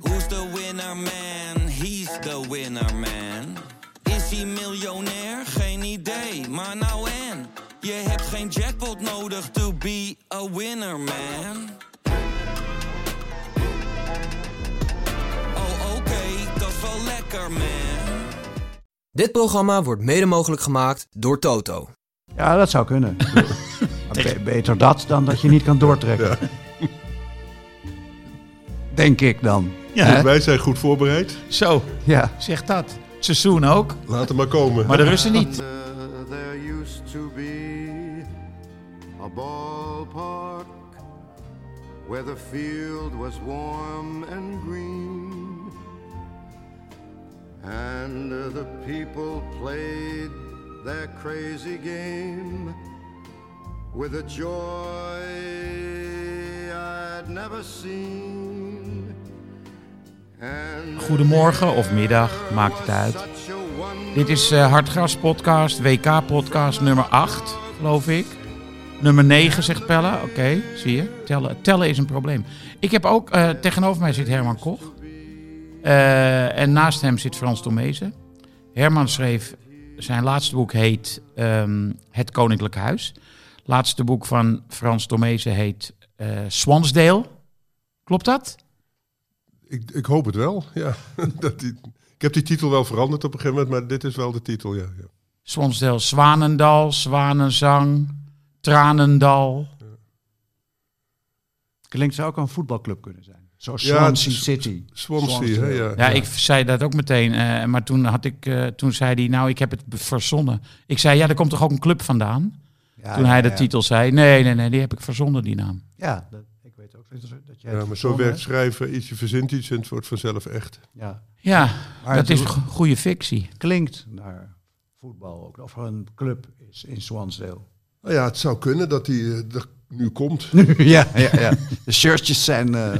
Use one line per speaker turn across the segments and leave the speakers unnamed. Who's the winner man? He's the winner man. Is hij miljonair? Geen idee, maar nou en. Je hebt geen jackpot nodig to be a winner man. Oh oké, dat is wel lekker man.
Dit programma wordt mede mogelijk gemaakt door Toto.
Ja, dat zou kunnen. Ik bedoel, be- beter dat dan dat je niet kan doortrekken. Denk ik dan.
Dus
Ja,
wij zijn goed voorbereid.
zo,
Ja.
zeg dat. Seizoen ook,
Laat hem maar komen.
maar de Russen niet.
Uh, there used to be a ballpark where the field was warm and green, and uh, the people played their crazy game with a joy I'd never seen. And
Goedemorgen of middag, maakt het uit. Dit is eh Hartgras Podcast, WK Podcast nummer 8, geloof ik. Nummer 9, zegt Pelle. Oké, zie je. Tellen, tellen is een probleem. Ik heb ook, eh, tegenover mij zit Herman Koch. Eh, en naast hem zit Frans Tomezen. Herman schreef, zijn laatste boek heet ehm, Het Koninklijk Huis. Laatste boek van Frans Tomezen heet eh Swansdale. Klopt dat?
Ik, ik hoop het wel. Ja, dat die, ik heb die titel wel veranderd op een gegeven moment, maar dit is wel de titel. Ja, ja.
Swansdale, Zwanendal, Zwanenzang, Tranendal.
Klinkt zou ook een voetbalclub kunnen zijn. Zoals
Ja,
Swansea
het is-
City.
Swansea, hè, ja.
Ja, ik zei dat ook meteen. eh, maar toen, had ik, eh, toen zei hij, nou, ik heb het be- verzonnen. Ik zei, ja, er komt toch ook een club vandaan?
Ja,
toen
Ah, ja,
hij de
ja.
titel zei, nee, nee, nee, die heb ik verzonnen, die naam.
Ja, dat- ik weet ook dat- dat jij
Ja,
het
maar zo
verzonnen
werkt
hebt.
schrijven. Iets, je verzint iets en het wordt vanzelf echt.
Ja.
Ja,
Maar
dat
het
is go- goede fictie.
klinkt naar voetbal ook. Of er een club is in Swansdale.
Nou ja, het zou kunnen dat die eh, er nu komt.
ja, ja, ja. De shirtjes zijn... eh,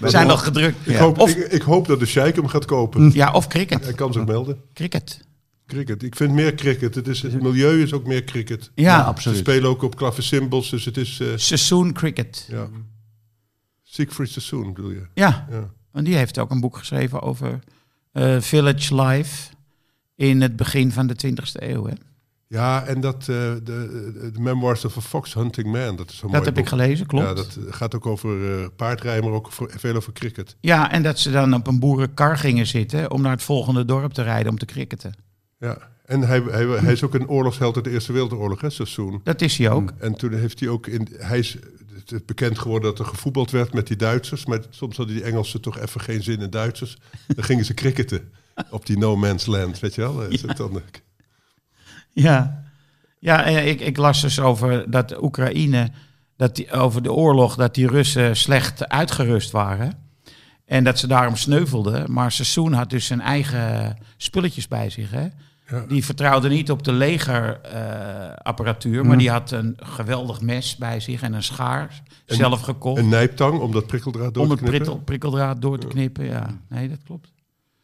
We zijn nog gedrukt.
Ik, hoop,
Of, Mm.
ik, ik hoop dat de Sheik hem gaat kopen.
ja, of cricket.
Hij kan zich melden.
Cricket.
Cricket. Ik vind meer cricket. Het, is, het milieu is ook meer cricket.
Ja,
Ze
absoluut.
spelen ook op klavecymbals, dus het is... eh
seizoen cricket.
ja. Siegfried Sassoon, bedoel je?
Ja,
Ja.
want die heeft ook een boek geschreven over eh, village life in het begin van de 20e eeuw. Hè?
Ja, en dat, eh, de, de Memoirs of a Fox Hunting Man, dat is zo'n mooi
Dat heb
boek.
ik gelezen, klopt.
Ja, dat eh, gaat ook over eh, paardrijden, maar ook voor- veel over cricket.
Ja, en dat ze dan op een boerenkar gingen zitten om naar het volgende dorp te rijden om te cricketen.
Ja. En hij, hij, hij is ook een oorlogsheld uit de Eerste Wereldoorlog, hè, Sassoon.
Dat is hij ook.
En toen heeft hij ook in. Hij is het is bekend geworden dat er gevoetbald werd met die Duitsers. Maar soms hadden die Engelsen toch even geen zin in Duitsers. Dan gingen ze cricketen op die no man's land, weet je wel. Eh, is het dan, eh,
Ja, ja en ik, ik las dus over dat Oekraïne, dat die, over de oorlog, dat die Russen slecht uitgerust waren. En dat ze daarom sneuvelden. Maar Sassoon had dus zijn eigen spulletjes bij zich. Hè? Die vertrouwde niet op de legerapparatuur, maar die had een geweldig mes bij zich en een schaar, zelf gekocht.
Een nijptang om dat prikkeldraad door
Oh. om
te
het
knippen.
prikkel, prikkeldraad door te knippen, ja. Nee, dat klopt.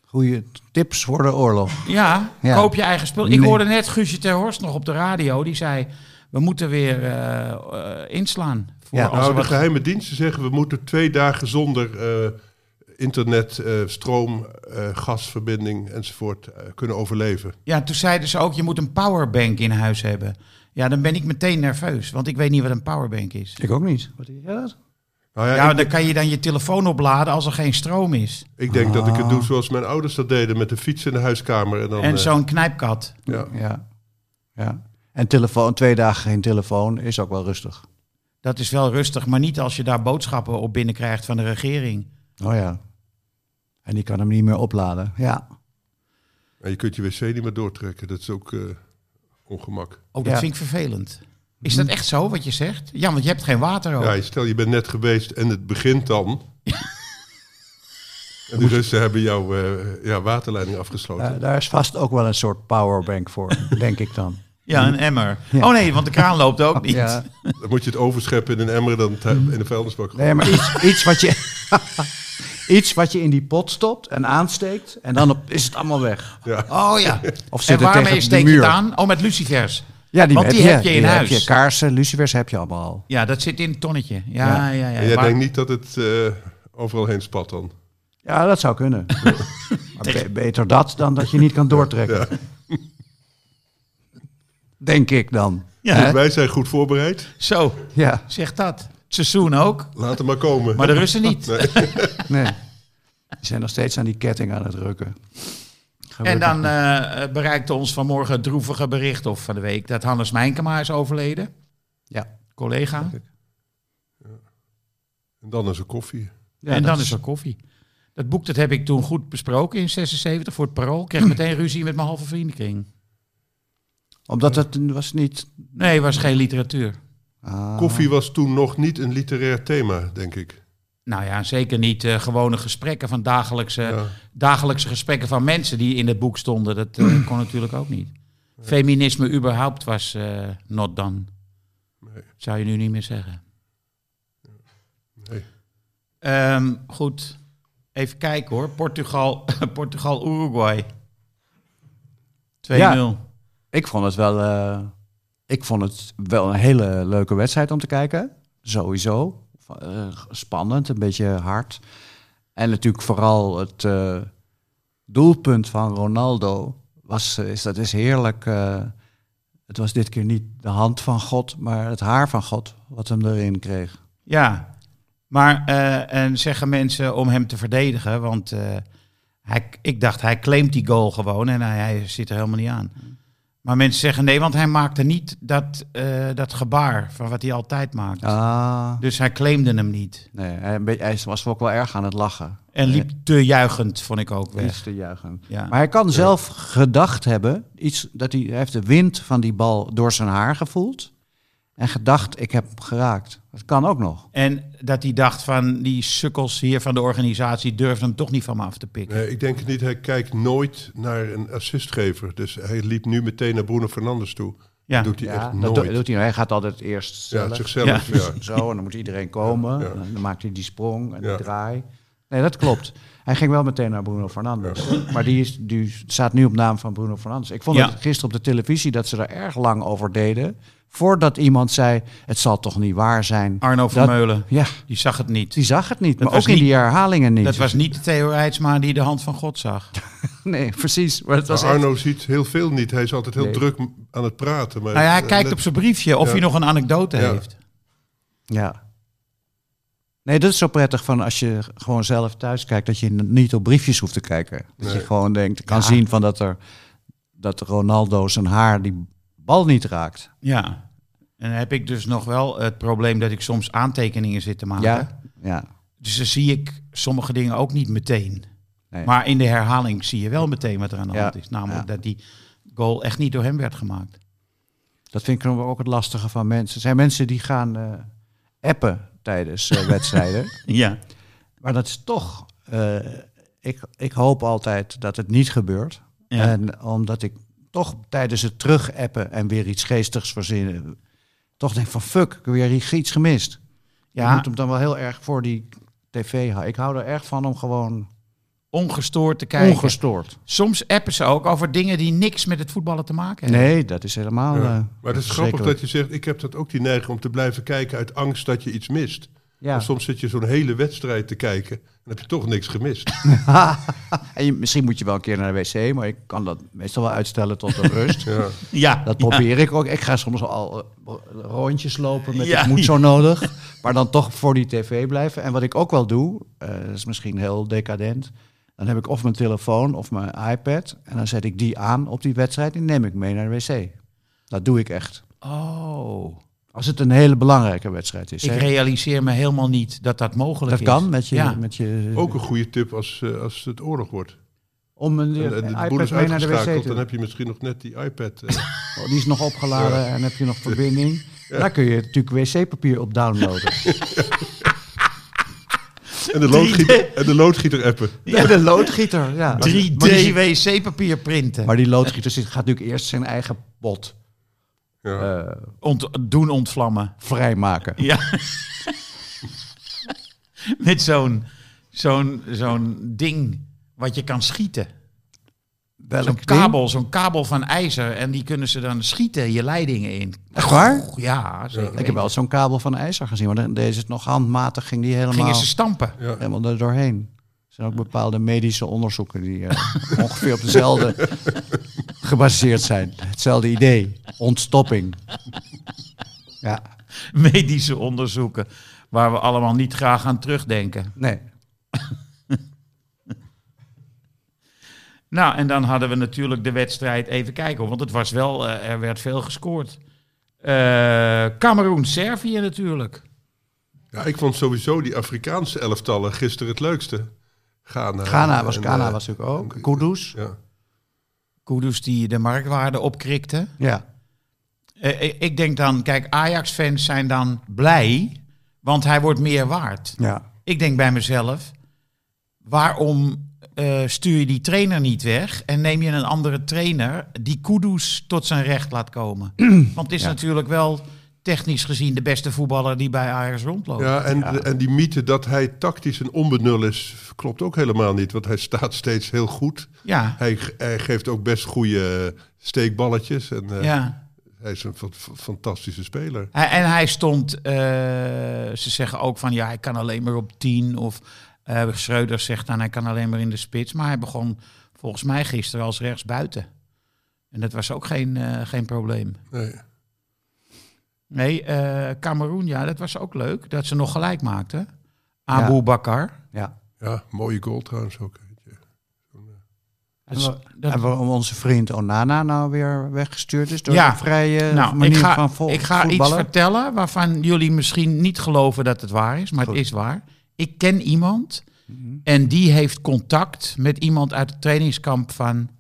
Goede tips voor de oorlog.
Ja,
Ja.
koop je eigen spul. Ik
Nee.
hoorde net Guusje ter Horst nog op de radio. Die zei, we moeten weer eh, eh, inslaan. Voor
Ja.
als
Nou, de
we...
geheime diensten zeggen we moeten twee dagen zonder eh, internet, eh, stroom, eh, gasverbinding enzovoort eh, kunnen overleven.
ja, toen zeiden ze ook, je moet een powerbank in huis hebben. Ja, dan ben ik meteen nerveus, want ik weet niet wat een powerbank is.
Ik ook niet. Wat is dat?
Nou ja,
Ja,
ik,
dan kan je dan je telefoon opladen als er geen stroom is.
ik denk dat ik het doe zoals mijn ouders dat deden, met de fiets in de huiskamer. En, dan,
En
eh,
zo'n knijpkat.
ja.
Ja. ja. En telefoon, twee dagen geen telefoon is ook wel rustig.
Dat is wel rustig, maar niet als je daar boodschappen op binnenkrijgt van de regering.
Oh ja. En die kan hem niet meer opladen. Ja.
En je kunt je wc niet meer doortrekken, dat is ook eh, ongemak.
Oh, dat
Ja. Hm.
vind ik vervelend. Is dat echt zo wat je zegt? Ja, want je hebt geen water ook.
Ja, stel je bent net geweest en het begint dan. en de Russen hebben jouw eh, ja, waterleiding afgesloten.
Eh, Daar- daar is vast ook wel een soort powerbank voor, denk ik dan.
Ja, een emmer.
hm. Ja.
Oh nee, want de kraan loopt ook niet.
Ja.
Dan moet je het overscheppen in een emmer en dan thu- in de vuilnisbak. gooien.
Nee, maar iets, iets, wat je, iets wat je in die pot stopt en aansteekt en dan op, is het allemaal weg.
Oh ja.
Of zit
en
het tegen
waarmee
de
steek je
muur?
het aan? Oh, met lucifers.
Ja,
Want die heb je in huis.
Heb je kaarsen, lucifers heb je allemaal al.
Ja, dat zit in het tonnetje. Ja, ja,
Ja.
ja.
En jij
Waar-
denkt niet dat het eh, overal heen spat dan.
Ja, dat zou kunnen. maar be- beter dat dan dat je niet kan doortrekken. Denk ik dan.
Ja.
Wij zijn goed voorbereid.
Zo,
Ja,
zeg dat. Het seizoen ook,
Laat hem maar komen.
maar de Russen niet.
nee. Die zijn nog steeds aan die ketting aan het rukken.
En
Gelukkig.
dan eh, bereikte ons vanmorgen het droevige bericht of van de week dat Hannes Mijnkema is overleden.
Ja.
Collega.
En dan is er koffie.
Ja,
en
dat
dan is er koffie. Dat boek dat heb ik toen goed besproken in 76 voor het parool. Ik kreeg meteen ruzie met mijn halve vriendenkring.
Omdat het was niet...
Nee, was geen literatuur.
Ah,
Koffie was toen nog niet een literair thema, denk ik.
Nou ja, zeker niet eh, gewone gesprekken van dagelijkse,
Ja.
dagelijkse gesprekken van mensen die in het boek stonden. Dat eh, kon natuurlijk ook niet. Feminisme überhaupt was eh, not done.
Nee.
Zou je nu niet meer zeggen.
Nee.
Ehm, goed, even kijken hoor. Portugal, Portugal Uruguay. 2-0.
Ik vond het wel... eh, ik vond het wel een hele leuke wedstrijd om te kijken. Sowieso. Eh, spannend, een beetje hard. En natuurlijk vooral het eh, doelpunt van Ronaldo. Was, eh, is, dat is heerlijk. eh, het was dit keer niet de hand van God, maar het haar van God wat hem erin kreeg.
Ja, maar eh, en zeggen mensen om hem te verdedigen, want eh, hij, ik dacht hij claimt die goal gewoon en hij, hij zit er helemaal niet aan.
Mm.
Maar mensen zeggen nee, want hij maakte niet dat, eh, dat gebaar van wat hij altijd maakt.
Ah,
Dus hij claimde hem niet.
nee, hij, een beetje- hij was ook wel erg aan het lachen.
En liep te juichend, vond ik ook weg.
Iets te juichen.
Ja.
Maar hij kan zelf gedacht hebben, iets, dat hij, hij heeft de wind van die bal door zijn haar gevoeld. En gedacht, ik heb hem geraakt. Dat kan ook nog.
En dat hij dacht van die sukkels hier van de organisatie durfden hem toch niet van me af te pikken.
Nee, ik denk het niet. Hij kijkt nooit naar een assistgever. Dus hij liep nu meteen naar Bruno Fernandes toe.
Ja.
Dat doet hij echt
dat
nooit.
do- doet hij. Hij gaat altijd eerst
ja,
zelf.
het zichzelf.
Ja.
Ja.
Zo, en dan moet iedereen komen.
Ja.
En dan maakt hij die sprong en
Ja.
die draai. Nee, dat klopt. Hij ging wel meteen naar Bruno Fernandes. Maar die, is, die staat nu op naam van Bruno Fernandes. Ik vond
Ja.
het gisteren op de televisie dat ze er erg lang over deden. Voordat iemand zei, het zal toch niet waar zijn.
Arno
Dat-
Vermeulen,
Ja,
die zag het niet.
die zag het niet. maar
was
ook in
niet-
die herhalingen niet.
Dat was niet de Theo Rijtsma die de hand van God zag.
Nee, precies. Maar het was
Maar
echt-
Arno ziet heel veel niet. Hij is altijd heel
Nee.
druk m- aan het praten. Maar
Nou ja, hij
eh,
kijkt
let-
op zijn briefje of
Ja.
hij nog een anekdote
Ja.
heeft.
Ja. Nee, dat is zo prettig van als je gewoon zelf thuis kijkt, dat je n- niet op briefjes hoeft te kijken. Dat je
Nee.
gewoon denkt, kan zien van dat er dat Ronaldo zijn haar die bal niet raakt.
Ja. En dan heb ik dus nog wel het probleem dat ik soms aantekeningen zit te maken.
Ja, ja.
Dus dan zie ik sommige dingen ook niet meteen.
Nee.
Maar in de herhaling zie je wel meteen wat er aan de
Ja.
hand is. Namelijk
Ja.
dat die goal echt niet door hem werd gemaakt.
Dat vind ik dan ook het lastige van mensen. Er zijn mensen die gaan eh, appen tijdens eh, wedstrijden.
Ja.
Maar dat is toch. eh, ik, ik hoop altijd dat het niet gebeurt.
Ja.
En omdat ik toch tijdens het terugappen en weer iets geestigs verzinnen. toch denk van fuck, ik heb weer iets gemist. Ja.
ja
Je moet hem dan wel heel erg voor die tv houden. Ik hou er erg van om gewoon
ongestoord te kijken.
ongestoord.
soms appen ze ook over dingen die niks met het voetballen te maken hebben.
Nee, dat is helemaal. eh,
Ja. Maar het is grappig
verschrikkelijk.
dat je zegt, ik heb dat ook die neiging om te blijven kijken uit angst dat je iets mist.
Ja.
En soms zit je zo'n hele wedstrijd te kijken en heb je toch niks gemist.
En je- misschien moet je wel een keer naar de wc, maar ik kan dat meestal wel uitstellen tot de rust.
Ja.
Ja,
Dat probeer ik ook. Ik ga soms al eh, rondjes lopen met
Ja.
ik moet zo nodig. Maar dan toch voor die tv blijven. En wat ik ook wel doe, eh, dat is misschien heel decadent. Dan heb ik of mijn telefoon of mijn iPad. En dan zet ik die aan op die wedstrijd en neem ik mee naar de wc. Dat doe ik echt.
Oh.
Als het een hele belangrijke wedstrijd is.
Ik
hè.
realiseer me helemaal niet dat dat mogelijk
dat
is.
kan met je...
Ja.
Met je
Ook een goede tip als, eh, als het oorlog wordt.
om een,
En,
een
en de
iPad
boel is
mee naar de
uitgeschakeld,
wc
dan
te
heb je misschien nog net die iPad. eh.
Oh, Die is nog opgeladen en heb je nog verbinding. Daar kun je natuurlijk wc-papier op downloaden.
en de loodgieter, en de loodgieter appen.
Ja, de loodgieter. Ja. Maar die
3D wc-papier printen.
Maar die loodgieter zit, gaat natuurlijk eerst zijn eigen pot
Ja.
Ont- doen ontvlammen.
vrijmaken.
Ja. Met zo'n zo'n zo'n ding wat je kan schieten.
Welk
Zo'n
ding?
kabel, zo'n kabel van ijzer. En die kunnen ze dan schieten je leidingen in.
Echt waar?
Ja, zeker.
Ik heb wel eens zo'n kabel van ijzer gezien, maar dan- deze is nog handmatig, ging die helemaal,
Gingen ze stampen.
Ja.
helemaal er doorheen. Er zijn ook bepaalde medische onderzoeken die eh, ongeveer op dezelfde gebaseerd zijn. Hetzelfde idee, ontstopping. Ja,
Medische onderzoeken. Waar we allemaal niet graag aan terugdenken.
nee.
Nou, en dan hadden we natuurlijk de wedstrijd even kijken. hoor, Want het was wel, eh, er werd veel gescoord. Eh Cameroen, Servië natuurlijk.
Ja, ik vond sowieso die Afrikaanse elftallen gisteren het leukste. Ghana.
Ghana was,
en,
Ghana
eh,
was natuurlijk ook. Kudus.
Ja.
Kudus die de marktwaarde opkrikte.
Ja.
Eh, ik- ik denk dan, kijk, Ajax-fans zijn dan blij, want hij wordt meer waard.
ja.
Ik denk bij mezelf, waarom eh, stuur je die trainer niet weg en neem je een andere trainer die Kudus tot zijn recht laat komen? want het is natuurlijk wel technisch gezien de beste voetballer die bij Ajax rondloopt.
Ja, en, en die mythe dat hij tactisch een onbenul is, klopt ook helemaal niet. Want hij staat steeds heel goed.
Ja,
Hij, ge- hij geeft ook best goede eh, steekballetjes. En eh,
ja.
hij is een fa- fa- fantastische speler.
Hij- En hij stond, eh, ze zeggen ook van ja, hij kan alleen maar op 10. Of eh Schreuder zegt dan hij kan alleen maar in de spits. Maar hij begon volgens mij gisteren als rechtsbuiten. En dat was ook geen, eh, geen probleem.
Nee.
Nee, eh Cameroen, ja, dat was ook leuk. Dat ze nog gelijk maakten. Abu Bakar.
ja.
Ja, mooie goal trouwens ook.
En
Dat-
wa-
dat-
en waarom onze vriend Onana nou weer weggestuurd is door
Ja.
een vrije eh,
nou,
manier
ik ga,
van vol-
ik ga iets
voetballen?
vertellen waarvan jullie misschien niet geloven dat het waar is, maar het is waar. Ik ken iemand
Mhm.
en die heeft contact met iemand uit het trainingskamp van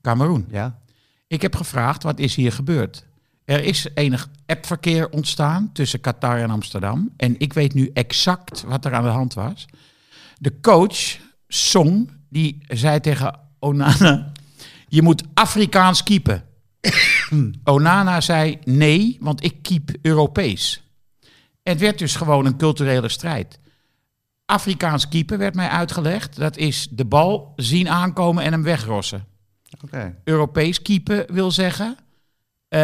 Cameroen.
Ja.
Ik heb gevraagd, wat is hier gebeurd? Er is enig appverkeer ontstaan tussen Qatar en Amsterdam. En ik weet nu exact wat er aan de hand was. De coach, Song, die zei tegen Onana... Je moet Afrikaans keepen. Onana zei nee, want ik keep Europees. Het werd dus gewoon een culturele strijd. Afrikaans keepen werd mij uitgelegd. Dat is de bal zien aankomen en hem wegrossen.
Oké.
Europees keeper wil zeggen. eh,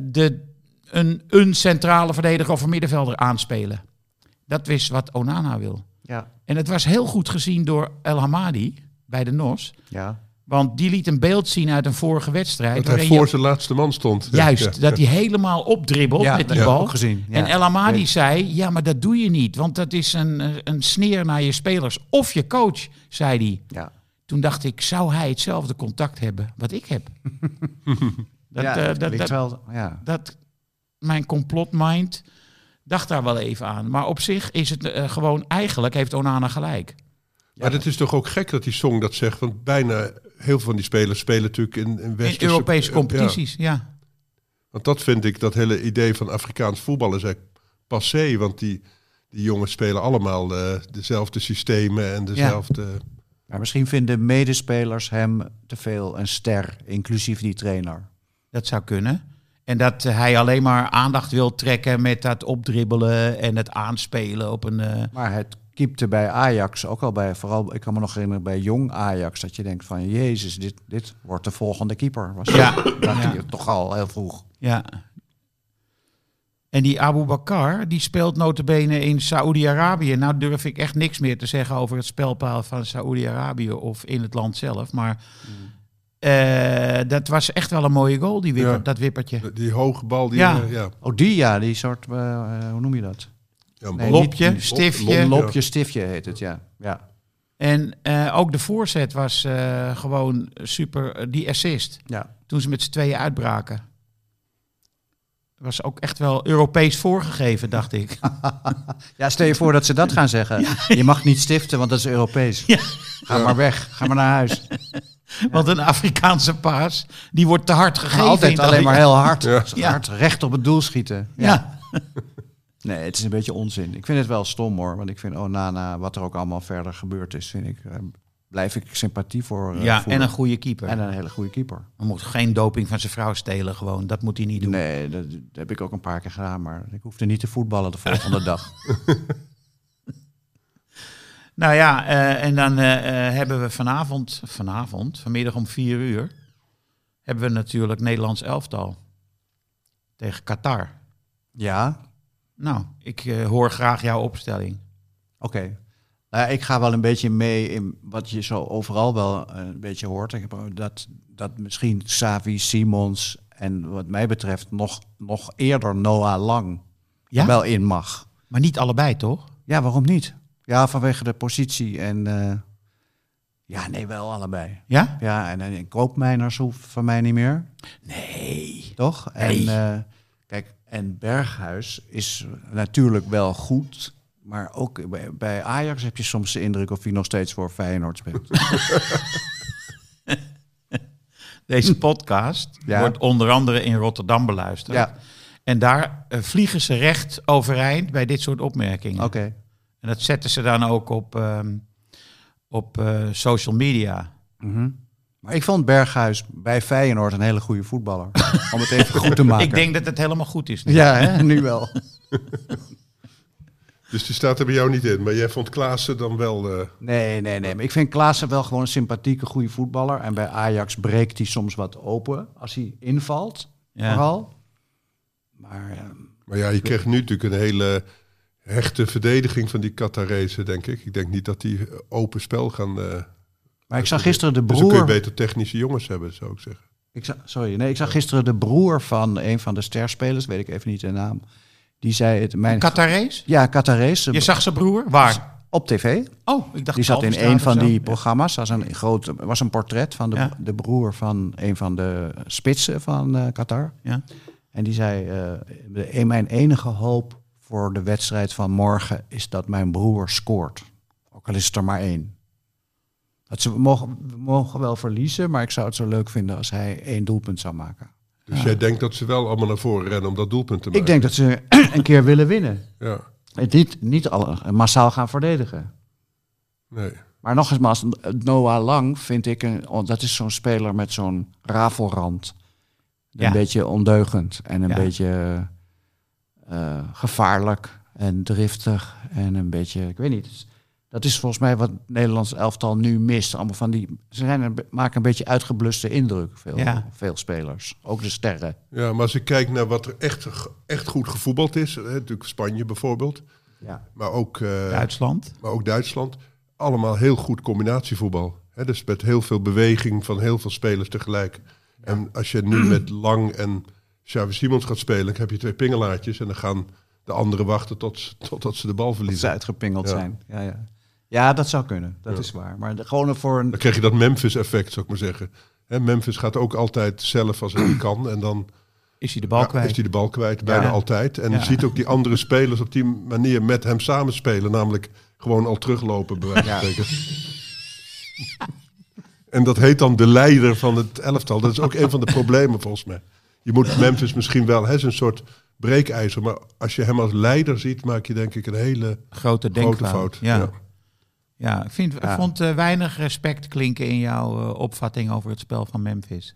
de, een, een centrale verdediger of een middenvelder aanspelen. Dat is wat Onana wil.
Ja.
En het was heel goed gezien door El Hamadi bij de NOS.
Ja.
Want die liet een beeld zien uit een vorige wedstrijd.
Dat hij
je-
voor zijn laatste man stond. Ja,
juist,
ja.
dat hij helemaal opdribbelt
Ja,
met die
ja,
bal.
ook gezien, ja.
En El Hamadi
Ja.
zei, ja, maar dat doe je niet. Want dat is een, eh, een sneer naar je spelers. Of je coach, zei hij.
Ja.
Toen dacht ik, zou hij hetzelfde contact hebben wat ik heb? dat,
ja,
eh,
dat
dat,
klinkt
dat,
wel, ja.
dat- mijn complotmind dacht daar wel even aan. Maar op zich is het eh, gewoon, eigenlijk heeft Onana gelijk.
Maar dat is toch ook gek dat die Song dat zegt. Want bijna heel veel van die spelers spelen natuurlijk in, in
In
westerse...
Europese
eh, ja.
competities, ja.
Want dat vind ik, dat hele idee van Afrikaans voetbal is eigenlijk passé. Want die, die jongens spelen allemaal eh, dezelfde systemen en dezelfde...
Maar misschien vinden medespelers hem te veel een ster, inclusief die trainer.
Dat zou kunnen. En dat eh, hij alleen maar aandacht wil trekken met dat opdribbelen en het aanspelen op een... eh,
Maar het kiepte bij Ajax, ook al bij, vooral, ik kan me nog herinneren bij jong Ajax, dat je denkt van, jezus, dit, dit wordt de volgende keeper. Was
Ja.
dacht
Ja.
je toch al heel vroeg.
Ja. En die Abu Bakar, die speelt notabene in Saoedi-Arabië. Nou durf ik echt niks meer te zeggen over het spelpaal van Saoedi-Arabië of in het land zelf. Maar
Mm.
eh, dat was echt wel een mooie goal, die wipper,
Ja.
dat wippertje.
Die hoge bal, die...
Ja.
eh, ja.
Oh, die ja, die soort, eh, eh, hoe noem je dat?
Ja,
Nee,
bal-
Lopje,
lop-
stiftje.
lop-
Lopje, stiftje heet het, ja. Ja,
En eh, ook de voorzet was eh, gewoon super, eh, die assist.
ja.
Toen ze met z'n tweeën uitbraken. Was ook echt wel Europees voorgegeven, dacht ik.
ja stel je voor dat ze dat gaan zeggen. Je mag niet stiften, want dat is Europees.
Ja.
Ga maar weg, ga maar naar huis.
Want een Afrikaanse paas, die wordt te hard gegeven. in
Altijd
dat-
alleen maar heel hard,
Ja.
Ja.
hard recht op het doel schieten.
ja.
Nee, het is een beetje onzin. Ik vind het wel stom hoor. Want ik vind Onana, wat er ook allemaal verder gebeurd is, vind ik, eh, blijf ik sympathie voor. eh,
Ja, en
voelen.
een goede keeper.
en eh, een hele goede keeper.
Hij moet geen doping van zijn vrouw stelen, gewoon. Dat moet hij niet doen.
Nee, dat, dat heb ik ook een paar keer gedaan, maar ik hoefde niet te voetballen de volgende dag.
Nou ja, eh, en dan eh, eh, hebben we vanavond, vanavond, vanmiddag om vier uur, hebben we natuurlijk Nederlands elftal tegen Qatar.
Ja,
Nou, ik eh, hoor graag jouw opstelling.
Oké. Nou ja, ik ga wel een beetje mee in wat je zo overal wel eh, een beetje hoort. Ik heb ook dat, dat misschien Xavi, Simons en wat mij betreft nog, nog eerder Noah Lang
Ja?
wel in mag.
Maar niet allebei, toch?
Ja, waarom niet? Ja, vanwege de positie en... eh, ja, nee, wel allebei.
Ja?
Ja, en, en koopmijners hoeft van mij niet meer. Nee. Toch? En, eh, kijk, en Berghuis is natuurlijk wel goed. Maar ook bij- bij Ajax heb je soms de indruk of hij nog steeds voor Feyenoord speelt.
Deze podcast
Ja.
wordt onder andere in Rotterdam beluisterd.
Ja.
En daar eh, vliegen ze recht overeind bij dit soort opmerkingen.
Oké.
En dat zetten ze dan ook op, ehm, op eh, social media.
Maar ik vond Berghuis bij Feyenoord een hele goede voetballer. Om het even goed te maken.
Ik denk dat het helemaal goed is. nu.
Ja, hè? nu wel.
Dus die staat er bij jou niet in. Maar jij vond Klaassen dan wel... eh,
Nee, nee, nee. Maar ik vind Klaassen wel gewoon een sympathieke, goede voetballer. En bij Ajax breekt hij soms wat open als hij invalt.
Ja.
Vooral. Maar ehm,
maar ja, je kreeg nu natuurlijk een hele hechte verdediging van die Qatarezen, denk ik. Ik denk niet dat die eh, open spel gaan... eh,
Maar ik zag Nou, gisteren de
Dus dan kun je
broer.
beter technische jongens hebben, zou ik zeggen.
Ik zag, sorry, nee, ik zag gisteren de broer van een van de sterspelers, weet ik even niet de naam. Die zei het. Mijn,
Qatarees?
ja, Catarese.
Je zag zijn broer? Waar?
Op tv.
Oh, ik dacht
Die zat in
Kalverstraat
een
of
van
zo.
die programma's. Dat was een, groot, was een portret van de,
Ja.
de broer van een van de spitsen van eh, Qatar.
Ja.
En die zei: eh, de, een- Mijn enige hoop voor de wedstrijd van morgen is dat mijn broer scoort. Ook al is het er maar één. Dat ze we mogen, we mogen wel verliezen, maar ik zou het zo leuk vinden als hij één doelpunt zou maken.
Dus jij denkt dat ze wel allemaal naar voren rennen om dat doelpunt te maken?
Ik denk dat ze een keer willen winnen.
Ja,
Het niet, niet alle, massaal gaan verdedigen.
nee.
Maar nog eens, Noah Lang vind ik, een, oh, dat is zo'n speler met zo'n rafelrand. Een
Ja.
beetje ondeugend en een
Ja.
beetje eh, gevaarlijk en driftig en een beetje, ik weet niet. Dus Dat is volgens mij wat het Nederlands elftal nu mist. Allemaal van die, ze zijn een, be- maken een beetje uitgebluste indruk, veel,
Ja.
veel spelers. Ook de sterren.
Ja, maar als ik kijk naar wat er echt, echt goed gevoetbald is, hè, natuurlijk Spanje bijvoorbeeld,
Ja.
maar ook, eh,
Duitsland.
maar ook Duitsland, allemaal heel goed combinatievoetbal. Hè, dus met heel veel beweging van heel veel spelers tegelijk. En als je nu met Lang en Xavi Simons gaat spelen, dan heb je twee pingelaartjes en dan gaan de anderen wachten tot, ze- totdat ze de bal
Dat
verliezen.
ze uitgepingeld
Ja.
zijn. Ja, ja. ja, dat zou kunnen. Dat is waar. Maar de, gewoon voor een...
Dan krijg je dat Memphis-effect, zou ik maar zeggen. Hè, Memphis gaat ook altijd zelf als hij niet kan. En dan
Is hij de bal
ja,
kwijt?
is hij de bal kwijt, bijna
Ja.
altijd. En
Ja.
je ziet ook die andere spelers op die manier met hem samenspelen. Namelijk gewoon al teruglopen, bij wijze van spreken. En dat heet dan de leider van het elftal. Dat is ook een van de problemen volgens mij. Je moet Memphis misschien wel, hij is een soort breekijzer. Maar als je hem als leider ziet, maak je denk ik een hele
Grote
grote
denkfout.
fout.
Ja.
Ja.
Ja. ik, vind, ik vond eh, weinig respect klinken in jouw eh, opvatting over het spel van Memphis.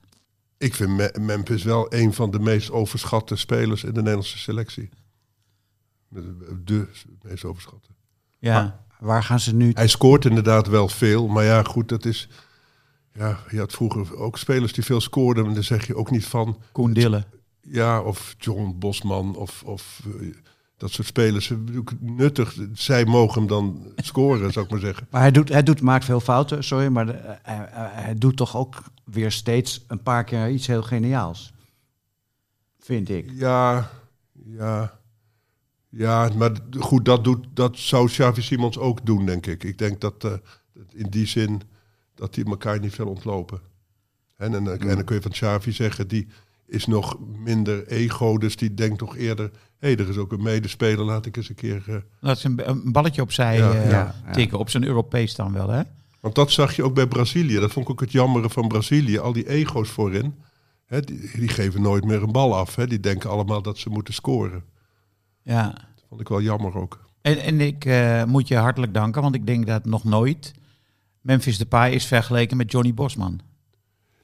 Ik vind Me- Memphis wel een van de meest overschatte spelers in de Nederlandse selectie. De- De meest overschatte.
Ja.
Ah. Waar gaan ze nu...
Hij scoort inderdaad wel veel, maar ja, goed, dat is. Ja, je had vroeger ook spelers die veel scoorden, maar daar zeg je ook niet van.
Koen Dillen.
Ja, of John Bosman of, of eh, dat soort spelers. Ik bedoel, Nuttig, zij mogen hem dan scoren, zou ik maar zeggen.
Maar hij, doet, hij doet, maakt veel fouten, sorry. Maar de- eh, hij, hij- hij doet toch ook weer steeds een paar keer iets heel geniaals. Vind ik.
Ja, ja. Ja, maar d- goed, dat, doet, dat zou Xavi Simons ook doen, denk ik. Ik denk dat eh, dat in die zin dat die elkaar niet veel ontlopen. En, en, en dan kun je van Xavi zeggen, die is nog minder ego, dus die denkt toch eerder... hé, hey, er is ook een medespeler, laat ik eens een keer... eh,
Dat is een, een balletje opzij
Ja,
eh,
ja, ja.
tikken. Op zijn Europees dan wel, hè?
Want dat zag je ook bij Brazilië. Dat vond ik ook het jammere van Brazilië. Al die ego's voorin, hè, die, die geven nooit meer een bal af. Hè. Die denken allemaal dat ze moeten scoren.
Ja.
Dat vond ik wel jammer ook.
En, en ik eh, moet je hartelijk danken, want ik denk dat nog nooit Memphis Depay is vergeleken met Johnny Bosman.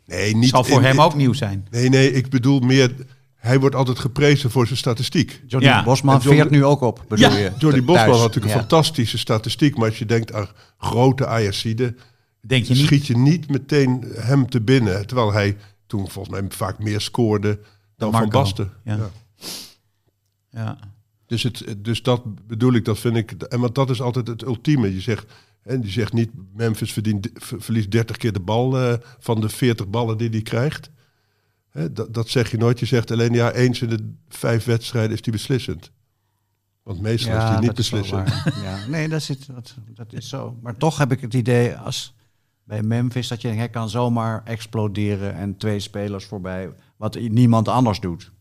Nee, niet
Zal voor
in-
hem
in-
ook nieuw zijn.
Nee, nee, ik bedoel meer. hij wordt altijd geprezen voor zijn statistiek.
Johnny
Ja.
Bosman
En Johnny-
veert nu ook op, bedoel
Ja.
je? Thuis.
Jordi Bosman had natuurlijk een
Ja.
fantastische statistiek, maar als je denkt aan grote Ajaxiden,
Denk je niet?
schiet je niet meteen hem te binnen. Terwijl hij toen volgens mij vaak meer scoorde dan Van
Marco.
Basten.
Ja.
Ja.
Ja.
Dus, het, dus dat bedoel ik, dat vind ik. En want dat is altijd het ultieme. Je zegt, en die zegt niet, Memphis verdient, ver- verliest 30 keer de bal eh, van de 40 ballen die hij krijgt. Hè, dat, dat zeg je nooit. Je zegt alleen ja, eens in de vijf wedstrijden is die beslissend. Want
Dus
meestal is
Ja,
die niet
dat is wel
beslissend.
waar. Ja. Nee, dat, zit, dat, dat is zo. Maar toch heb ik het idee als bij Memphis dat je denkt, hij kan zomaar exploderen en twee spelers voorbij, wat i- niemand anders doet.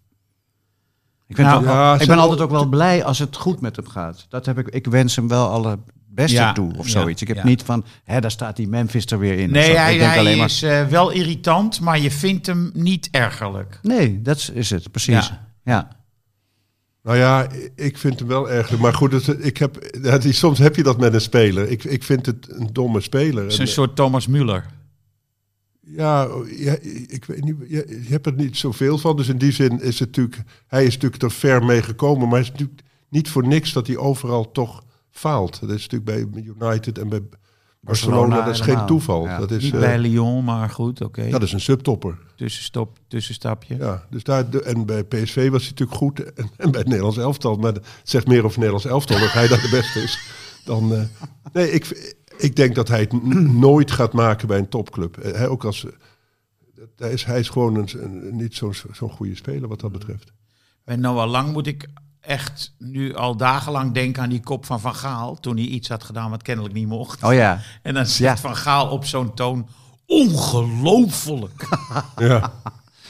Ik, vind
Nou,
het ook-
ja,
ik
ze-
ben altijd ook wel blij als het goed met hem gaat. Dat heb ik, ik wens hem wel alle beste
Ja,
toe of
ja,
zoiets. Ik heb
ja.
niet van, hè, daar staat die Memphis er weer in. of zo.
Nee, hij,
ik denk
hij
alleen maar,
is eh, wel irritant, maar je vindt hem niet ergerlijk.
Nee, dat is- is het, precies.
eh, Ja.
Ja.
Nou ja, i- ik vind hem wel erg. Maar goed, het, ik heb, ja, die- soms heb je dat met een speler. Ik, ik vind het een domme speler.
Het is
En,
een soort Thomas Müller.
Ja, ja, ik weet niet, je, je hebt er niet zoveel van. Dus in die zin is het natuurlijk, hij is natuurlijk er ver mee gekomen. Maar het is natuurlijk niet voor niks dat hij overal toch faalt. Dat is natuurlijk bij United en bij Barcelona, dat is geen
helemaal.
toeval.
Ja.
Dat, is,
Niet
eh,
bij Lyon, maar goed, oké.
dat is een subtopper.
Tussenstop, tussenstapje.
Ja, dus daar, de- en bij PSV was hij natuurlijk goed. En, en bij het Nederlands elftal. Maar het zegt meer over het Nederlands elftal dat hij daar de beste is. Dan, eh, nee, ik, ik denk dat hij het n- nooit gaat maken bij een topclub. Eh, Hij, ook als, eh, dat- hij, is, hij is gewoon een, een- niet zo'n zo'n goede speler wat dat betreft.
Bij Noah Lang moet ik echt nu al dagenlang denken aan die kop van Van Gaal. Toen hij iets had gedaan wat kennelijk niet mocht.
Oh ja.
En dan zegt
Ja.
Van Gaal op zo'n toon... Ongelooflijk.
Ja,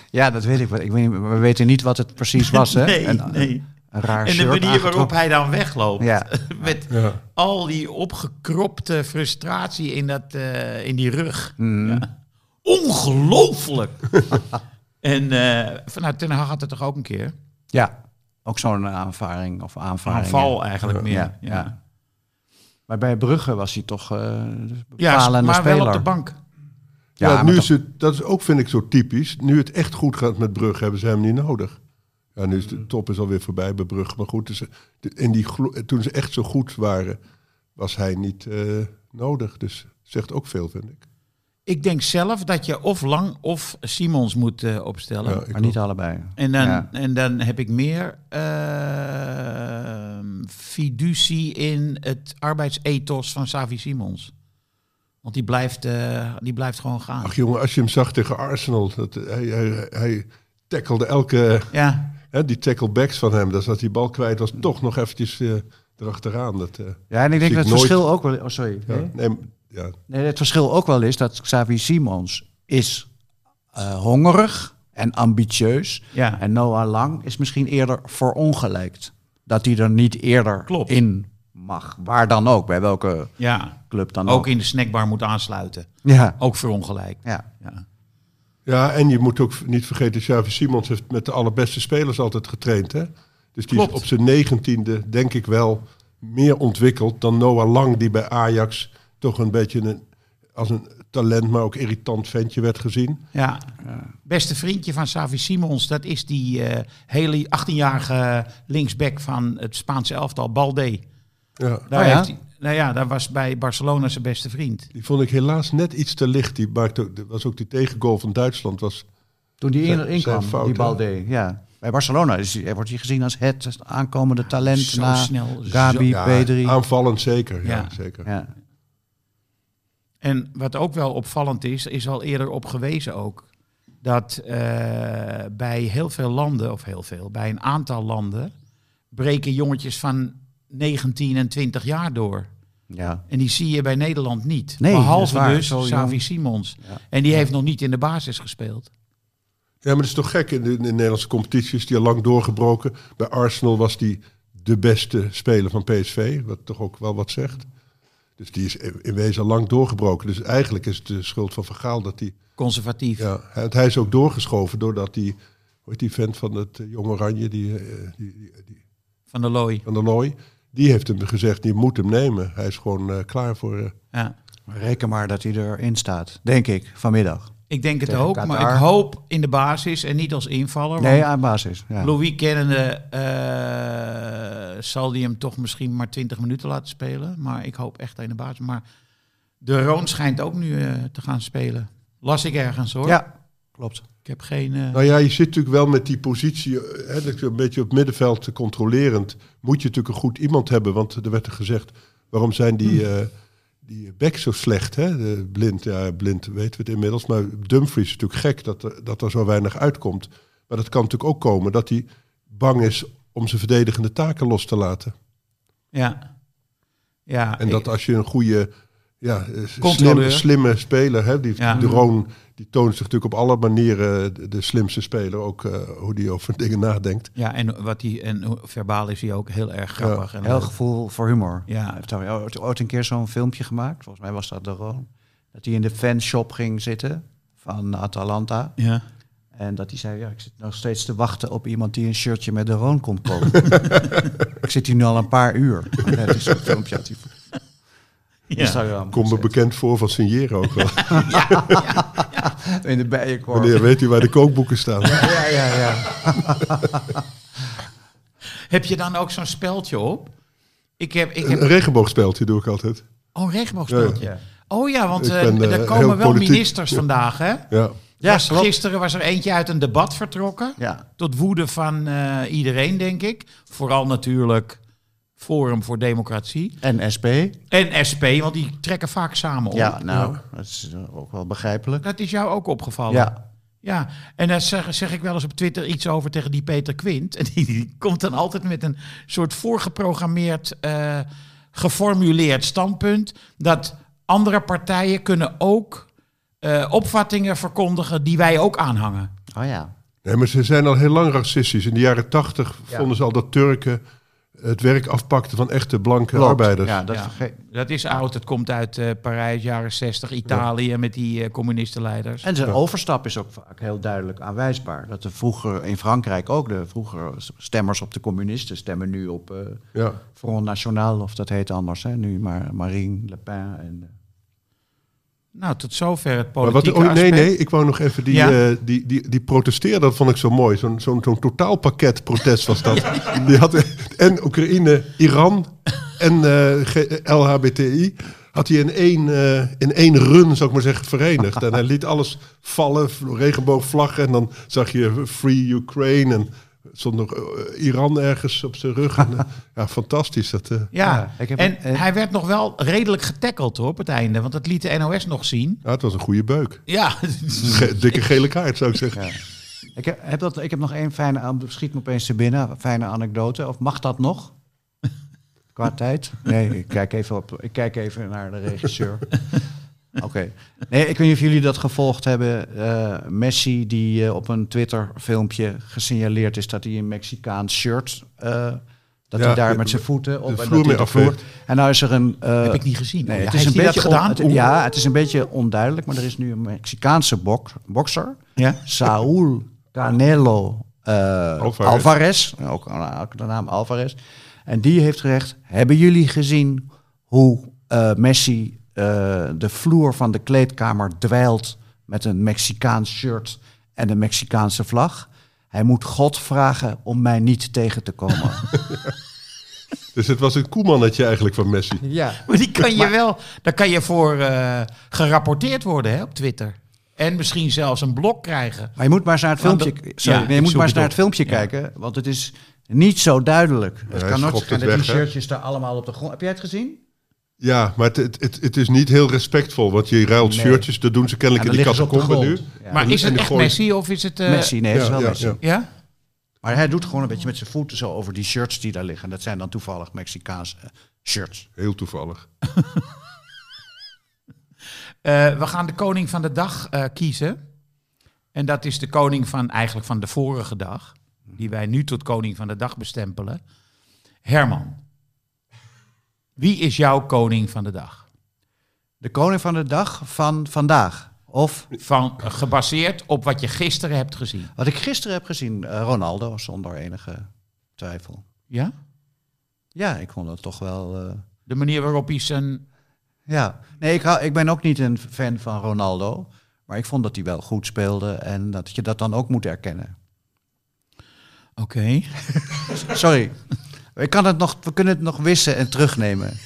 ja, dat weet ik wel. Ik weet, niet- we weten niet wat het precies was. Hè?
Nee,
een,
nee.
een raar
En de
shirt
manier waarop
aangetrokken.
hij dan wegloopt.
Ja.
Met
Ja.
al die opgekropte frustratie in, dat, eh, in die rug.
Mhm.
Ja. Ongelooflijk! en eh, vanuit Ten Haag had het toch ook een keer?
Ja, ook zo'n aanvaring of aanvaring.
Aanval eigenlijk meer. Ja,
Ja, ja. Maar bij Brugge was hij toch eh de
Ja,
bepalende
maar
speler.
wel op de bank.
ja,
Ja,
nu
maar
is het, dat is ook, vind ik, zo typisch. Nu het echt goed gaat met Brugge, hebben ze hem niet nodig. Ja, nu is
Mm.
de top is alweer voorbij bij Brugge. Maar goed, dus, eh, de- in die, glo- toen ze echt zo goed waren, was hij niet eh, nodig. Dus zegt ook veel, vind ik.
Ik denk zelf dat je of Lang of Simons moet eh, opstellen.
Ja, ik
Maar niet allebei.
En dan,
Ja.
en dan heb ik meer eh, fiducie in het arbeidsethos van Savi Simons. Want die blijft, eh, die blijft gewoon gaan.
Ach jongen, als je hem zag tegen Arsenal, dat, hij, hij, hij tackelde elke,
Ja,
hè, die tacklebacks van hem, dat zat die bal kwijt was, toch nog eventjes eh, erachteraan. Dat, eh,
Ja, en ik
zie
denk dat het
nooit.
verschil ook wel... Oh, sorry.
ja,
Nee?
nee, m- ja.
Nee, het verschil ook wel is dat Xavi Simons is eh, hongerig en ambitieus.
Ja.
En Noah Lang is misschien eerder verongelijkt. Dat hij er niet eerder
Klopt.
in mag. Waar dan ook, bij welke
ja.
club dan ook.
Ook in de snackbar moet aansluiten.
Ja,
Ook verongelijk.
ja.
Ja.
ja, en je moet ook niet vergeten, Xavi Simons heeft met de allerbeste spelers altijd getraind. Hè? Dus die
Klopt.
is op zijn negentiende, denk ik wel, meer ontwikkeld dan Noah Lang, die bij Ajax toch een beetje een, als een talent, maar ook irritant ventje werd gezien.
Ja. Beste vriendje van Savi Simons, dat is die eh, hele 18-jarige linksback van het Spaanse elftal, Balde.
Ja.
Daar
Oh ja?
heeft hij, nou ja, daar was bij Barcelona zijn beste vriend.
Die vond ik helaas net iets te licht. Die maakte, ook- was ook die tegengoal van Duitsland. Was,
Toen die
Zijn-
in- erin
zijn
kwam,
fout,
die
hè?
Balde. Ja. Bij Barcelona is, hij- wordt hij gezien als het aankomende talent
Zo
na
snel,
Gabi, Pedri.
aanvallend zeker. Ja,
Ja.
zeker.
Ja.
En wat ook wel opvallend is, is al eerder op gewezen ook, dat eh, bij heel veel landen, of heel veel, bij een aantal landen, breken jongetjes van 19 en 20 jaar door.
Ja.
En die zie je bij Nederland niet.
Nee, dat is
Behalve
waar.
dus
Zo jong.
Savi Simons. En die heeft nog niet in de basis gespeeld.
Ja, maar het is toch gek. In de, in de Nederlandse competitie is die al lang doorgebroken. Bij Arsenal was die de beste speler van PSV. Wat toch ook wel wat zegt. Dus die is in in wezen al lang doorgebroken. Dus eigenlijk is het de schuld van Vergaal dat hij...
Conservatief.
Ja, hij- want hij is ook doorgeschoven doordat die... Hoe heet die vent van het eh, Jong Oranje? Die, eh, die, die, die-
Van der Looy.
van der Looy. Die heeft hem gezegd, die moet hem nemen. Hij is gewoon eh, klaar voor... eh,
Ja.
Reken maar dat hij erin staat, denk ik, vanmiddag.
Ik denk het
Tegen
ook, maar
Qatar.
ik hoop in de basis en niet als invaller.
Nee,
want
aan basis. Ja.
Louis kennende eh, zal die hem toch misschien maar 20 minuten laten spelen. Maar ik hoop echt in de basis. Maar de Roon schijnt ook nu eh, te gaan spelen. Las ik ergens hoor.
ja, klopt.
Ik heb geen... eh,
Nou ja, je zit natuurlijk wel met die positie, eh, hè, dat je een beetje op het middenveld eh, controlerend, moet je natuurlijk een goed iemand hebben. Want er werd er gezegd, waarom zijn die, eh, die back zo slecht? Hè? De blind, ja, blind weten we het inmiddels. Maar Dumfries is natuurlijk gek dat er, dat er zo weinig uitkomt. Maar dat kan natuurlijk ook komen dat hij bang is om zijn verdedigende taken los te laten.
Ja. ja.
En dat als je een goede, ja, eh, slim,
Controleur.
slimme speler, hè, die
Ja.
drone, die toont zich natuurlijk op alle manieren de, de slimste speler, ook eh, hoe die over dingen nadenkt.
Ja, en, wat die, en hoe- verbaal is hij ook heel erg grappig. en
Heel
leuk.
gevoel voor humor.
Ja.
Hij heeft daar ooit- ooit een keer zo'n filmpje gemaakt. Volgens mij was dat de rol. Dat hij in de fanshop ging zitten van Atalanta.
Ja.
En dat hij zei, ja, ik zit nog steeds te wachten op iemand die een shirtje met de Roon komt kopen. ik zit hier nu al een paar uur. En dat is zo'n filmpje had hij op
Ja.
Instagram.
Kom me
gezet.
bekend voor van Signeren ook wel.
In de bijenkorf.
Wanneer weet u waar de kookboeken staan?
Ja, ja, ja.
Heb je dan ook zo'n speldje op? Ik heb, ik
Een
heb
regenboogspeeltje doe ik altijd.
oh, een regenboogspeldje.
Ja.
Oh ja, want
Ik
eh,
ben, eh,
er
heel
komen wel
politiek.
ministers vandaag, hè?
Ja.
Ja,
Was-
klopt.
gisteren was er eentje uit een debat vertrokken.
Ja.
Tot woede van eh, iedereen, denk ik. Vooral natuurlijk Forum voor Democratie.
En SP.
En SP, want die trekken vaak samen op.
Oh, Ja, nou, dat is eh, ook wel begrijpelijk.
Dat is jou ook opgevallen.
Ja,
Ja, en daar zeg, zeg ik wel eens op Twitter iets over tegen die Peter Quint. En die, die komt dan altijd met een soort voorgeprogrammeerd, eh, geformuleerd standpunt. Dat andere partijen kunnen ook eh, opvattingen verkondigen die wij ook aanhangen.
oh ja.
Nee, maar ze zijn al heel lang racistisch. In de jaren tachtig vonden ze al dat Turken het werk afpakten van echte blanke
Klopt.
arbeiders.
Ja, dat
Ja.
vergeet-
Dat is oud, het komt uit eh, Parijs, jaren 60, Italië met die eh, communistenleiders.
En zijn overstap is ook vaak heel duidelijk aanwijsbaar. Dat er vroeger in Frankrijk ook de vroeger stemmers op de communisten stemmen nu op eh
Ja.
Front National of dat heet anders. Hè? Nu maar Marine Le Pen. En, eh,
Nou, tot zover het
Maar wat,
politieke
oh, nee,
aspect.
nee, ik wou nog even die,
Ja?
eh, die, die, die protesteer, dat vond ik zo mooi. Zo'n zo'n zo'n totaalpakket protest was dat. Die had en Oekraïne, Iran en eh, G- LHBTI had hij in één, eh, in één run, zou ik maar zeggen, verenigd. En hij liet alles vallen, v- regenboogvlaggen. En dan zag je Free Ukraine en stond nog eh, Iran ergens op zijn rug. En, eh, ja, fantastisch. Dat, eh.
Ja,
Ja, ik heb
en
een- een-
hij werd nog wel redelijk getackeld hoor, op het einde. Want dat liet de NOS nog zien.
ja, het was een goede beuk.
Ja,
Ge- dikke gele kaart, zou ik zeggen.
ik, heb, heb dat, ik heb nog één fijne, aan- schiet me opeens te binnen, fijne anekdote. Of mag dat nog? Qua tijd? Nee, ik kijk even, op, ik kijk even naar de regisseur. Oké. Nee, ik weet niet of jullie dat gevolgd hebben. Eh, Messi, die eh, op een Twitter-filmpje gesignaleerd is dat hij een Mexicaans shirt. eh, dat
Ja,
hij daar
de-
met zijn voeten op en
vloer
dat hij
mee
de
afveegt.
En nou is er een. eh,
heb ik niet gezien.
Nee,
Ja,
het is
heeft
een
hij dat
beetje on-
gedaan?
het- ja, het is een beetje onduidelijk, maar er is nu een Mexicaanse bok, bokser,
Ja.
Saúl Canelo eh,
Alvarez.
Alvarez. ook aan- ook de naam Alvarez. En die heeft gezegd: Hebben jullie gezien hoe eh, Messi eh, de vloer van de kleedkamer dweilt met een Mexicaans shirt en een Mexicaanse vlag? Hij moet God vragen om mij niet tegen te komen.
Dus het was een koemannetje eigenlijk van Messi.
ja.
Maar die kan je wel, daar kan je voor eh, gerapporteerd worden hè, op Twitter. En misschien zelfs een blok krijgen.
Maar je moet maar eens naar het
Want
filmpje,
dat-
sorry,
ja,
nee, je
ik
moet
zoek
maar eens
het
naar het
op.
filmpje kijken, want het is niet zo duidelijk. het
hij
kan nooit
schopt
zijn
het
dat die
weg, hè?
shirtjes daar allemaal op de grond... Heb jij het gezien?
Ja, maar het, het, het, het is niet heel respectfall, want je ruilt
Nee.
shirtjes, dat doen ze kennelijk
Ja,
in die
dan liggen ze op de
catacombe nu.
grond. Ja.
Maar
En-
is
en
het
die
echt
gooien-
Messi of is het... eh,
Messi, nee, het is
ja,
wel
ja,
Messi.
ja.
Ja?
Maar hij doet gewoon een beetje met zijn voeten zo over die shirts die daar liggen. Dat zijn dan toevallig Mexicaanse eh, shirts.
Heel toevallig.
Eh, we gaan de koning van de dag eh, kiezen. En dat is de koning van eigenlijk van de vorige dag. Die wij nu tot koning van de dag bestempelen. Herman. Wie is jouw koning van de dag?
De koning van de dag van vandaag. Of
Van, eh, gebaseerd op wat je gisteren hebt gezien.
wat ik gisteren heb gezien, eh, Ronaldo, zonder enige twijfel.
Ja?
Ja, ik vond dat toch wel... eh,
De manier waarop hij zijn...
Ja, nee, ik, hou, ik ben ook niet een fan van Ronaldo. Maar ik vond dat hij wel goed speelde en dat je dat dan ook moet erkennen.
Oké.
Sorry, ik kan het nog, we kunnen het nog wissen en terugnemen.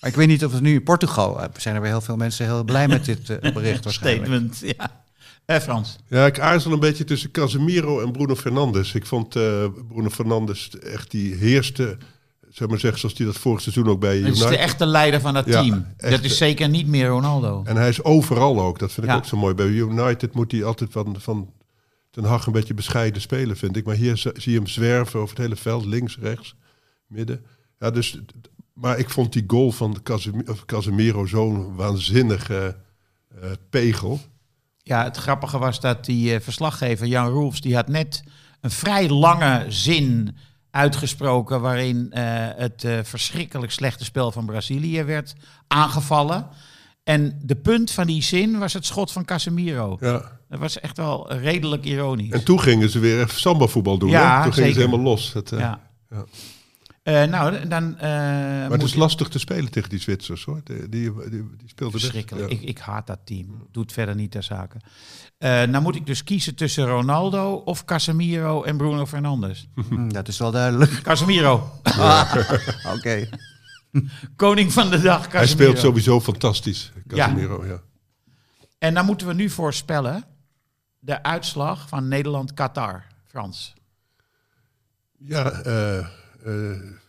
Maar ik weet niet of het nu in Portugal... eh, Zijn er weer heel veel mensen heel blij met dit eh, bericht waarschijnlijk.
Statement, ja. Hé Frans.
Ja, ik aarzel een beetje tussen Casemiro en Bruno Fernandes. Ik vond eh, Bruno Fernandes echt die heerste, zeg maar zeggen, zoals hij dat vorig seizoen ook bij
Dat is de
United.
echte leider van dat
Ja,
team.
echt,
Dat is
eh.
zeker niet meer Ronaldo.
En hij is overal ook, dat vind ik
Ja.
ook zo mooi. Bij United moet hij altijd van, van Ten Hag een beetje bescheiden spelen, vind ik. Maar hier z- zie je hem zwerven over het hele veld, links, rechts, midden. Ja, dus, d- maar ik vond die goal van Casemi- of Casemiro zo'n waanzinnige eh, pegel.
Ja, het grappige was dat die eh, verslaggever Jan Roelfs... die had net een vrij lange zin uitgesproken... waarin eh, het eh, verschrikkelijk slechte spel van Brazilië werd aangevallen. En de punt van die zin was het schot van Casemiro.
Ja.
Dat was echt wel redelijk ironisch.
En toen gingen ze weer echt samba voetbal doen.
Ja,
hè? Toen gingen ze
zeker.
helemaal los. Het, eh,
ja.
ja.
Eh, nou, dan... eh,
Maar
moet
het is lastig te spelen tegen die Zwitsers hoor. Die, die, die, die speelden best.
Verschrikkelijk.
Ja.
Ik, ik haat dat team. Doet verder niet ter zake. Eh nou moet ik dus kiezen tussen Ronaldo of Casemiro en Bruno Fernandes.
Hm, Dat is wel duidelijk.
Casemiro,
Oké.
koning van de dag. Casemiro.
Hij speelt sowieso fantastisch, Casemiro. Ja.
En dan moeten we nu voorspellen de uitslag van Nederland-Qatar, Frans.
Ja, eh, eh,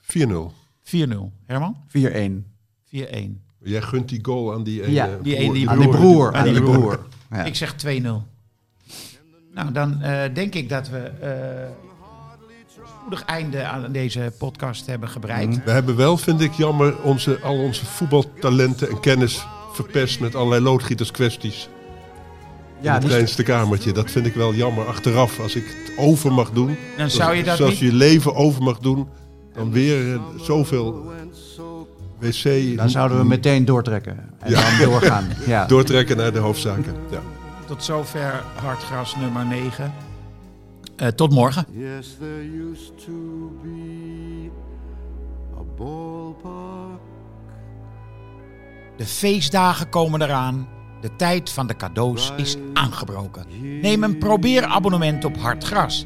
4-0.
4-0. Herman?
4-1.
4-1. eh,
Jij gunt die goal aan die ene
Ja,
broer.
die ene die
Aan die broer. Aan die
broer.
broer. Ja.
Ik zeg 2-0. Nou, dan eh, denk ik dat we eh, een spoedig einde aan deze podcast hebben bereikt.
We hebben wel, vind ik jammer, onze, al onze voetbaltalenten en kennis verpest met allerlei loodgieterskwesties.
Ja, dus-
Ja, in het
die,
kleinste kamertje. Dat vind ik wel jammer. Achteraf, als ik het over mag doen.
Dan zou je dat
Zoals
niet-
je leven over mag doen. Dan weer eh, zoveel wc.
dan zouden we meteen doortrekken. En dan doorgaan. Ja.
Doortrekken naar de hoofdzaken. Ja.
Tot zover Hartgras nummer 9. Eh, tot morgen.
Yes, there used to be a ballpark.
De feestdagen komen eraan. De tijd van de cadeaus is aangebroken. Neem een probeerabonnement op Hartgras.